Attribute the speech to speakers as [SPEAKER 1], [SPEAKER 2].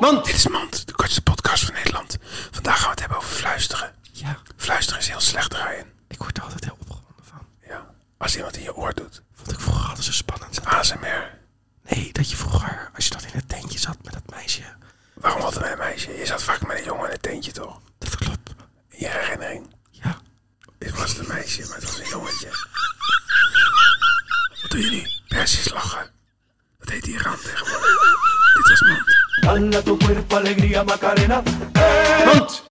[SPEAKER 1] Mand!
[SPEAKER 2] Dit is Mand, de kortste podcast van Nederland. Vandaag gaan we het hebben over fluisteren.
[SPEAKER 1] Ja,
[SPEAKER 2] Fluisteren is heel slecht, Ryan.
[SPEAKER 1] ik word er altijd heel opgewonden van.
[SPEAKER 2] Ja. Als iemand in je oor doet.
[SPEAKER 1] Vond ik vroeger altijd zo spannend.
[SPEAKER 2] ASMR.
[SPEAKER 1] Nee, dat je vroeger, als je dan in het tentje zat met dat meisje.
[SPEAKER 2] Waarom altijd met een meisje? Je zat vaak met een jongen in een tentje, toch?
[SPEAKER 1] Dat klopt.
[SPEAKER 2] In je herinnering.
[SPEAKER 1] Ja.
[SPEAKER 2] Ik was het een meisje, maar het was een jongetje. Wat doen jullie? Persisch lachen. Dat heet Iran tegenwoordig. Dit was Mand.
[SPEAKER 3] Dale a tu cuerpo alegría Macarena.
[SPEAKER 2] Mand!